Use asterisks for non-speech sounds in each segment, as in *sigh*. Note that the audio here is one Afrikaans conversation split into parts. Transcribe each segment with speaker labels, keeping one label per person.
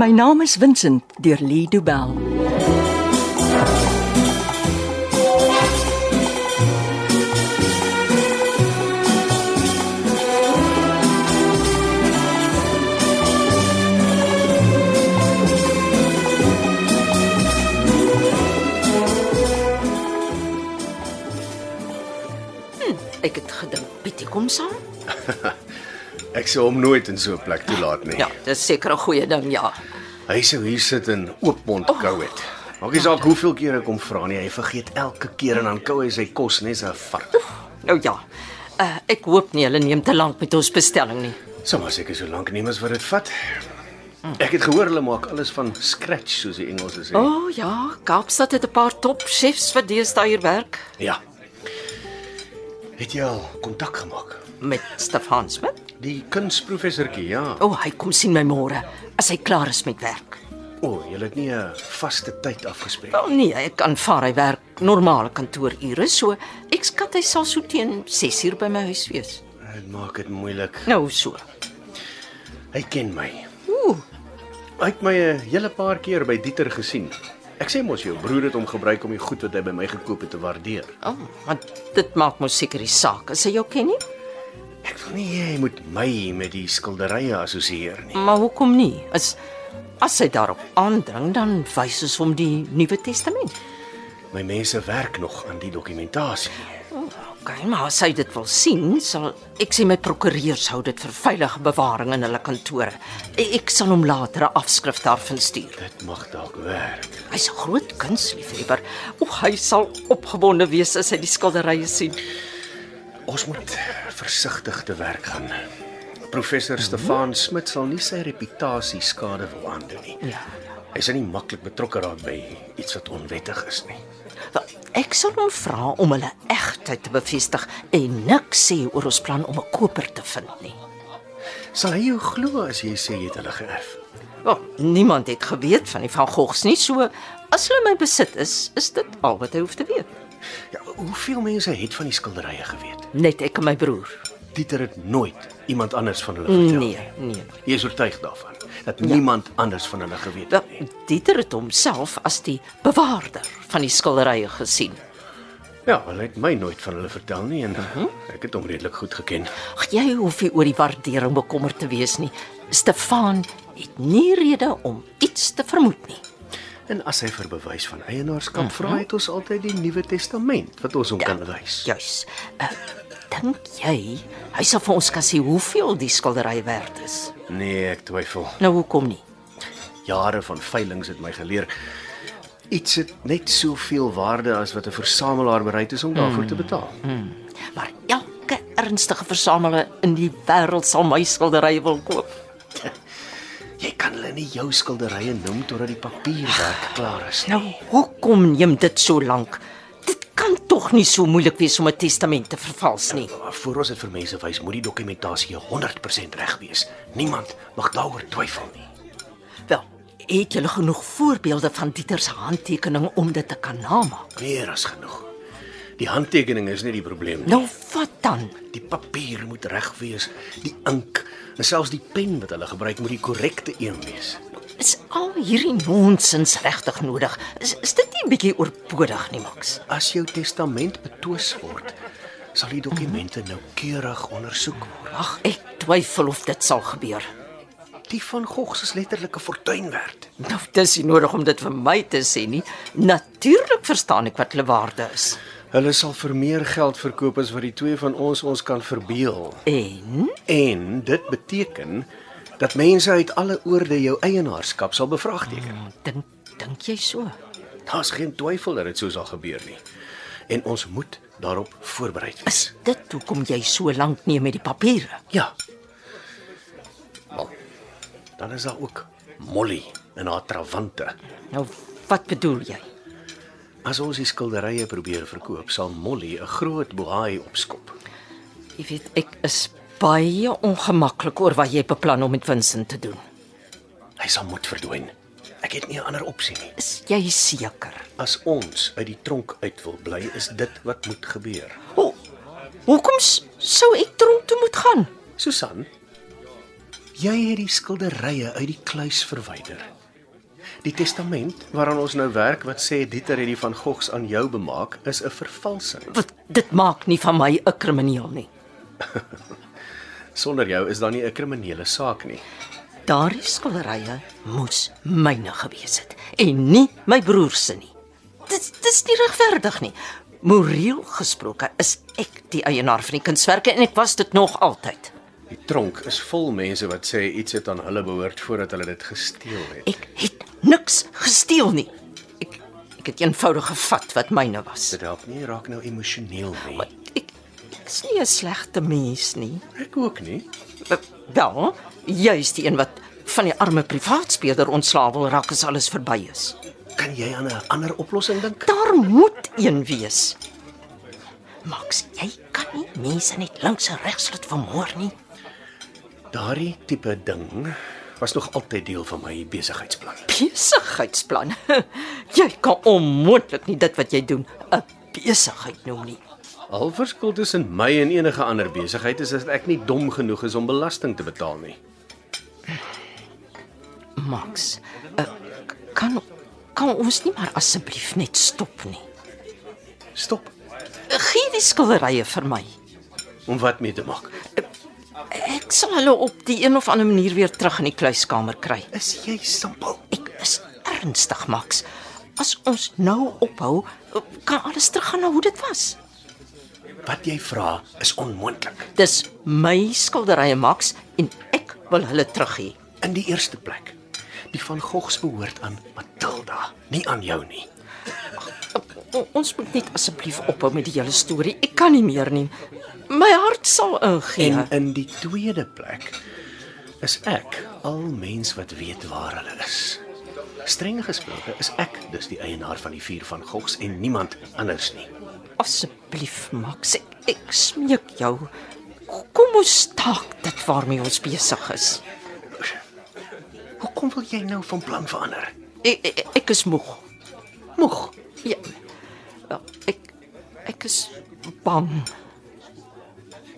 Speaker 1: My naam is Vincent deur Lee Du Bell.
Speaker 2: Ek het gedink Pietie kom saam.
Speaker 3: Ek sou hom nooit in so 'n plek toelaat nie.
Speaker 2: Ja, dis seker 'n goeie ding, ja.
Speaker 3: Hy sou hier sit en oopmond
Speaker 2: Oh.
Speaker 3: kou het. Maak nie saak hoeveel keer ek hom vra nie, hy vergeet elke keer en dan kou hy sy kos net so 'n vark.
Speaker 2: Nou ja. Uh, ek hoop nie hulle neem te lank met ons bestelling nie.
Speaker 3: Sommige seker so lank neem as wat dit vat. Ek het gehoor hulle maak alles van scratch soos die Engelse sê.
Speaker 2: O oh, ja, Kaapstad het 'n paar top chefs wat deesdae hier werk
Speaker 3: Ja. Het jy al kontak gemaak?
Speaker 2: met Stefan Smit.
Speaker 3: Die kunstprofessortjie, ja.
Speaker 2: O, oh, hy kom sien my môre as hy klaar is met werk.
Speaker 3: O, oh, jy het nie 'n vaste tyd afgespreek.
Speaker 2: Wel nee, ek aanvaar hy werk normale kantoorure, so ek skat hy sal so teen 6uur by my huis wees.
Speaker 3: Dit maak dit moeilik.
Speaker 2: Nou so.
Speaker 3: Hy ken my.
Speaker 2: Ooh,
Speaker 3: Hy het my 'n hele paar keer by Dieter gesien. Ek sê mos jou broer het hom gebruik om die goed wat hy by my gekoop het te waardeer.
Speaker 2: oh, want dit maak mos seker die saak as hy jou ken nie.
Speaker 3: Ek wil nie jy moet my met die skilderye assosieer nie.
Speaker 2: Maar hoekom nie? As as hy daarop aandring, dan wys ons hom die Nuwe Testament.
Speaker 3: My mense werk nog aan die dokumentasie.
Speaker 2: Okay, maar as hy dit wil sien, sal ek sê my prokureurs hou dit vir veilige bewaring in hulle kantore. E- Ek sal hom later 'n afskrif daarvan stuur.
Speaker 3: Dit mag dalk werk.
Speaker 2: Hy's 'n groot kunstliefhebber. O, hy sal opgewonde wees as hy die skilderye sien.
Speaker 3: Ons moet eh, versigtig te werk gaan. Professor Stefan Smit sal nie sy reputasie skade wil aandoen nie.
Speaker 2: Ja.
Speaker 3: Hy sal nie maklik betrokke raak by iets wat onwettig is nie.
Speaker 2: Wel, ek sal hom vra om hulle egtheid te bevestig en niks sê oor ons plan om 'n koper te vind nie.
Speaker 3: Sal hy jou glo as jy sê jy het hulle geërf?
Speaker 2: Wel, Ja, niemand het geweet van die Van Goghs nie, so as hulle in my besit is, is dit al wat hy hoef te weet.
Speaker 3: Ja, hoeveel mense het van die skilderye geweet?
Speaker 2: Net ek en my broer.
Speaker 3: Dieter het nooit iemand anders van hulle vertel
Speaker 2: Nee,
Speaker 3: nie.
Speaker 2: nee.
Speaker 3: Jy is oortuig daarvan dat niemand anders van hulle geweet het nie.
Speaker 2: Wel, Dieter het homself as die bewaarder van die skilderye gesien.
Speaker 3: Ja, hulle het my nooit van hulle vertel nie en eh, ek het hom redelik goed geken.
Speaker 2: Ag, jy hoef nie oor die waardering bekommerd te wees nie. Stefan het nie rede om iets te vermoed nie.
Speaker 3: En as hy vir bewys van eienaarskap vra, het ons altyd die Nuwe Testament wat ons hom kan wys.
Speaker 2: Juis. Uh, dink jy hy sal vir ons kan sê hoeveel die skildery werd is?
Speaker 3: Nee, ek twyfel.
Speaker 2: Nou hoekom nie?
Speaker 3: Jare van veilings het my geleer iets het net soveel waarde as wat 'n versamelaar bereid is om daarvoor te betaal.
Speaker 2: Maar elke ernstige versamelaar in die wêreld sal my skilderye wil koop.
Speaker 3: Jy kan hulle nie jou skilderye noem totdat die papierwerk klaar is nie.
Speaker 2: Nou, hoekom neem dit so lank? Dit kan tog nie so moeilik wees om 'n testament te vervals nie.
Speaker 3: Maar voor ons dit vir mense wys, moet die dokumentasie 100% reg wees. Niemand mag daaroor twyfel nie.
Speaker 2: Wel, het julle genoeg voorbeelde van Dieter se handtekening om dit te kan namaak?
Speaker 3: Meer as genoeg. Die handtekening is nie die probleem nie.
Speaker 2: Nou wat dan?
Speaker 3: Die papier moet reg wees, die ink en selfs die pen wat hulle gebruik moet die korrekte een wees.
Speaker 2: Is al hierdie nonsens regtig nodig? Is, is dit nie 'n bietjie oorbodig nie, Max?
Speaker 3: As jou testament betwis word, sal die dokumente noukeurig ondersoek word.
Speaker 2: Ag, ek twyfel of dit sal gebeur.
Speaker 3: Die van Gogh se letterlike fortuin werd.
Speaker 2: Nou, dis nie nodig om dit vir my te sê nie. Natuurlik verstaan ek wat hulle waarde is.
Speaker 3: Hulle sal vir meer geld verkoop as wat die twee van ons ons kan verbeel.
Speaker 2: En
Speaker 3: En dit beteken dat mense uit alle oorde jou eienaarskap sal bevraagteken.
Speaker 2: dink dink jy so?
Speaker 3: Daar's geen twyfel dat dit so sal gebeur nie. En ons moet daarop voorberei wees.
Speaker 2: Is dit hoekom jy so lank neem met die papiere?
Speaker 3: Ja. Wel. Dan is daar ook Molly en haar trawante.
Speaker 2: Nou, wat bedoel jy?
Speaker 3: As ons die skilderye probeer verkoop, sal Molly 'n groot bohaai opskop.
Speaker 2: Jy weet ek is baie ongemaklik oor wat jy beplan om met Vincent te doen.
Speaker 3: Hy sal moet verdwyn. Ek het nie 'n ander opsie nie.
Speaker 2: Is jy seker?
Speaker 3: As ons uit die tronk uit wil bly, is dit wat moet gebeur.
Speaker 2: Ho hoekom s- sou ek tronk toe moet gaan?
Speaker 3: Susan, Jy het die skilderye uit die kluis verwyder. Die testament waaraan ons nou werk wat sê Dieter het die van Gogs aan jou bemaak, is 'n vervalsing.
Speaker 2: Wat dit maak nie van my 'n krimineel nie.
Speaker 3: Sonder jou is daar nie 'n kriminele saak nie.
Speaker 2: Daardie skilderye moes myne gewees het en nie my broer se nie. Dit dis nie regverdig nie. Moreel gesproke is ek die eienaar van die kunswerke en ek was dit nog altyd.
Speaker 3: Die tronk is vol mense wat sê iets het aan hulle behoort voordat hulle dit gesteel het.
Speaker 2: Ek het niks gesteel nie. Ek ek het eenvoudig gevat wat myne was.
Speaker 3: Dit help nie raak nou emosioneel nie.
Speaker 2: Maar ek ek's nie 'n slegte mens nie.
Speaker 3: Ek ook nie.
Speaker 2: Wel, juist die een wat van die arme privaatspeler ontslaaw wil raak as alles verby is.
Speaker 3: Kan jy aan 'n ander oplossing dink?
Speaker 2: Daar moet een wees. Max, jy kan nie mense net links en regs laat vermoor nie.
Speaker 3: Daardie tipe ding was nog altyd deel van my besigheidsplan.
Speaker 2: Besigheidsplan. *laughs* Jy kan onmoontlik nie dit wat jy doen 'n besigheid noem nie.
Speaker 3: Al verskil tussen my en enige ander besigheid is dat ek nie dom genoeg is om belasting te betaal nie.
Speaker 2: Max, uh, kan kan ons nie maar asseblief net stop nie.
Speaker 3: Stop
Speaker 2: Gee die skilderye vir my.
Speaker 3: om wat mee te maak.
Speaker 2: Ek sal hulle op die een of ander manier weer terug in die kluiskamer kry.
Speaker 3: Is jy simpel?
Speaker 2: Ek is ernstig, Max. As ons nou ophou, kan alles teruggaan na hoe dit was.
Speaker 3: Wat jy vra is onmoontlik.
Speaker 2: Dis my skilderye, Max, en ek wil hulle terug hê.
Speaker 3: In die eerste plek, die van Gogs behoort aan Matilda, nie aan jou nie.
Speaker 2: O- Ons moet net asseblief ophou met die hele storie. Ek kan nie meer nie. My hart sal ingee.
Speaker 3: En in die tweede plek is ek al mens wat weet waar hulle is. Streng gesproke is ek dus die eienaar van die vuur van Gogs en niemand anders nie.
Speaker 2: asseblief, Max, ek, ek smeek jou. Kom ons staak dit waarmee ons besig is.
Speaker 3: Hoekom wil jy nou van plan verander?
Speaker 2: Ek ek, E, ek is moeg. Moeg. Ja. Wel, Ek ek is bang.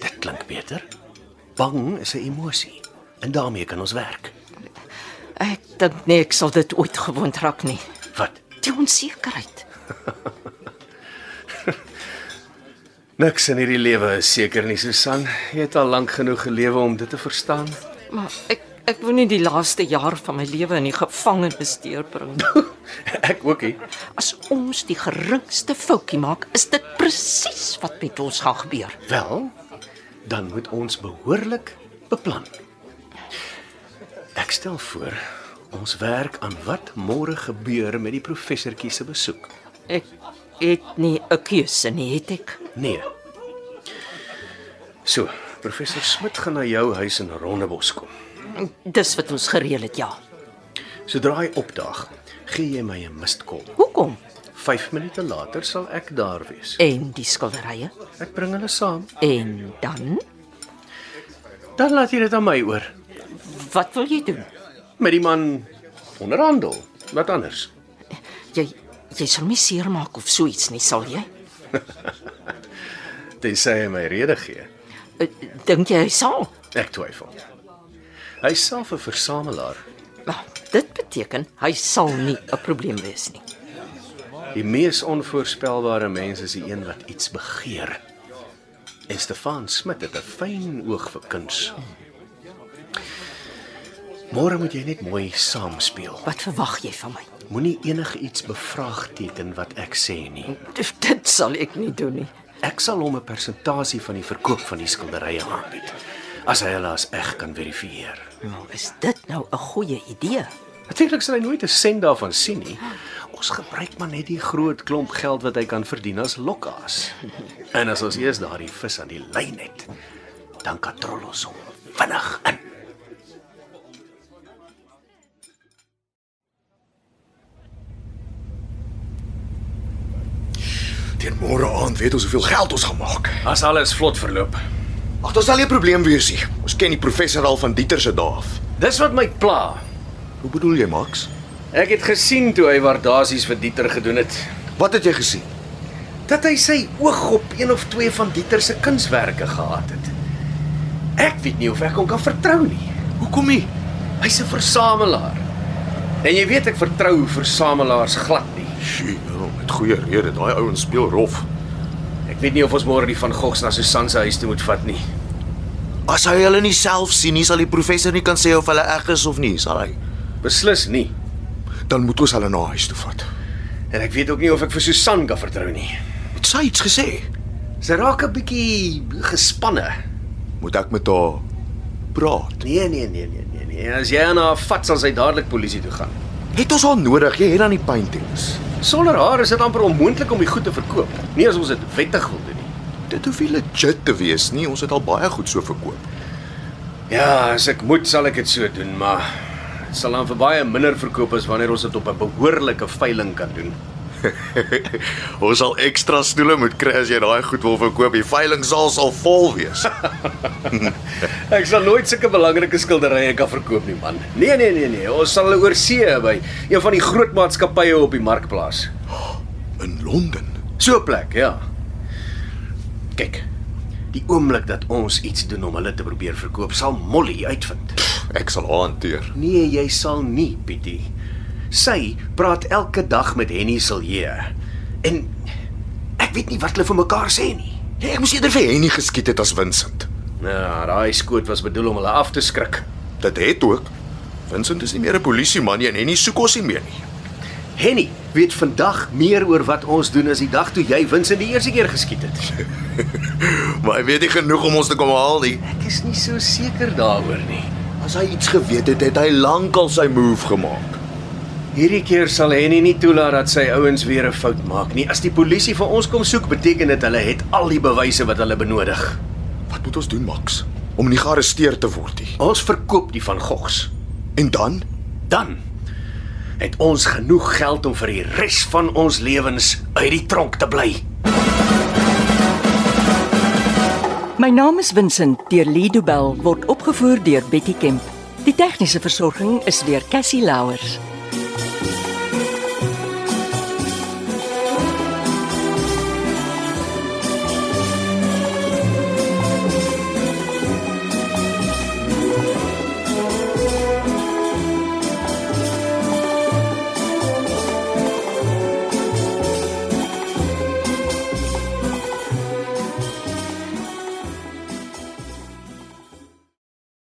Speaker 3: Dit klink beter. Bang is 'n emosie en daarmee kan ons werk.
Speaker 2: Ek dink nie ek sal dit ooit gewoond raak nie.
Speaker 3: Wat?
Speaker 2: Die onsekerheid.
Speaker 3: Niks in hierdie lewe is seker nie, Susan. Jy het al lank genoeg gelewe om dit te verstaan.
Speaker 2: Maar ek ek wil nie die laaste jaar van my lewe in die gevangenis deurbring.
Speaker 3: *laughs* Ek ook nie.
Speaker 2: As ons die geringste foutjie maak, is dit presies wat met ons gaan gebeur.
Speaker 3: Wel, dan moet ons behoorlik beplan. Ek stel voor ons werk aan wat môre gebeur met die professortjie se besoek.
Speaker 2: Ek het nie 'n keuse nie, het ek.
Speaker 3: Nee. So, professor Smit gaan na jou huis in Rondebos kom.
Speaker 2: Dis wat ons gereël het, ja.
Speaker 3: Sodra hy opdaag, gee jy my 'n mistkol.
Speaker 2: Hoekom?
Speaker 3: 5 minute later sal ek daar wees.
Speaker 2: En die skilderye
Speaker 3: Ek bring hulle saam.
Speaker 2: en dan
Speaker 3: Dan laat jy dit aan my oor
Speaker 2: wat wil jy doen?
Speaker 3: met die man onderhandel. Wat anders?
Speaker 2: Jy jy sal my seermaak of so iets nie, sal jy?
Speaker 3: Tensy hy my rede gee.
Speaker 2: Eh, Dink jy hy sal?
Speaker 3: Ek twyfel. Hy is self 'n versamelaar.
Speaker 2: Nou, dit beteken hy sal nie 'n probleem wees nie.
Speaker 3: Die mees onvoorspelbare mens is die een wat iets begeer. En Stefan Smit het 'n fyn oog vir kuns. Môre moet jy net mooi saamspeel.
Speaker 2: Wat verwag jy van my?
Speaker 3: Moenie enigiets bevraagteken wat ek sê nie.
Speaker 2: Dit- Dus Dit sal ek nie doen nie.
Speaker 3: Ek sal hom 'n persentasie van die verkoop van die skilderye aanbied as hy hulle as eg kan verifieer.
Speaker 2: Maar is dit nou 'n goeie idee?
Speaker 3: Natuurlik sal hy nooit 'n sent daarvan sien nie. Ons gebruik maar net die groot klomp geld wat hy kan verdien as *laughs* lokkaas. En as ons eers daardie vis aan die lyn het, dan kan trol ons hom vinnig in.
Speaker 4: Teen môre aand weet ons hoeveel geld ons gaan maak.
Speaker 3: As alles vlot verloop.
Speaker 4: Ag, dit sal nie 'n probleem wees nie. Ons ken die professor al van Dieter se dae af.
Speaker 3: Dis wat my pla.
Speaker 4: Hoe bedoel jy, Max?
Speaker 3: Ek het gesien toe hy waardasies vir Dieter gedoen het,
Speaker 4: Wat het jy gesien?
Speaker 3: dat hy sy oog op een of twee van Dieter se kunswerke gehad het. Ek weet nie of ek hom kan vertrou nie. Hoekom nie? Hy's 'n versamelaar. En jy weet ek vertrou versamelaars glad nie.
Speaker 4: Sjoe, nou, met goeie rede, daai ouens speel rof.
Speaker 3: Ek weet nie of ons môre die van Gogs na Susan se huis toe moet vat nie.
Speaker 4: As hy hulle nie self sien nie, sal die professor nie kan sê of hulle reg is of nie, sal hy.
Speaker 3: Beslis nie.
Speaker 4: Dan moet ons hulle na huis toe vat.
Speaker 3: En ek weet ook nie of ek vir Susan kan vertrou nie.
Speaker 4: Het sy iets gesê?
Speaker 3: Sy raak 'n bietjie gespanne.
Speaker 4: Moet ek met haar praat?
Speaker 3: Nee, nee, nee, nee, nee, nee. As jy aan haar vat, sal sy dadelik polisie toe gaan.
Speaker 4: Het ons haar nodig? Jy het dan die paintings.
Speaker 3: Sonder haar is dit amper onmoontlik om die goed te verkoop. Nie as ons dit wettig wil doen nie.
Speaker 4: Dit hoef nie legit te wees nie. Ons het al baie goed so verkoop.
Speaker 3: Ja, as ek moet sal ek dit so doen, maar dit sal dan vir baie minder verkoop as wanneer ons dit op 'n behoorlike veiling kan doen.
Speaker 4: *laughs* ons sal ekstra stoele moet kry as jy daai goed wil verkoop. Die veiling sal sal vol wees.
Speaker 3: Ek sal nooit sulke belangrike skilderye kan verkoop nie, man. Nee, nee, nee, nee. Ons sal hulle oorsee by een van die groot maatskappye op die markplaas.
Speaker 4: *laughs* In Londen.
Speaker 3: So 'n plek, ja. Kyk. Die oomblik dat ons iets doen om hulle te probeer verkoop, sal Molly uitvind.
Speaker 4: Ek sal haar hanteer.
Speaker 3: Nee, jy sal nie, Pietie. Sy praat elke dag met Henny Silje. En ek weet nie wat hulle vir mekaar sê nie.
Speaker 4: Ek moes eerder vir Henny geskiet het as Vincent.
Speaker 3: Nou, daai skoot was bedoel om hulle af te skrik.
Speaker 4: Dit het ook. Vincent is nie meer 'n polisieman nie en Henny soek ons nie meer nie. *laughs*
Speaker 3: Henny weet vandag meer oor wat ons doen as die dag toe jy Vincent die eerste keer geskiet het.
Speaker 4: Maar hy weet nie genoeg om ons te kom haal nie.
Speaker 3: Ek is nie so seker daaroor nie.
Speaker 4: As hy iets geweet het, het hy lankal sy move gemaak.
Speaker 3: Hierdie keer sal Henny nie toelaat dat sy ouens weer 'n fout maak nie. As die polisie vir ons kom soek, beteken dit hulle het al die bewyse wat hulle benodig.
Speaker 4: Wat moet ons doen, Max? Om nie gearresteer te word nie.
Speaker 3: Ons verkoop die van Gogs.
Speaker 4: En dan?
Speaker 3: Dan het ons genoeg geld om vir die res van ons lewens uit die tronk te bly.
Speaker 1: My naam is Vincent deur Lido Bell word opgevoer deur Betty Kemp. Die tegniese versorging is deur Cassie Louers.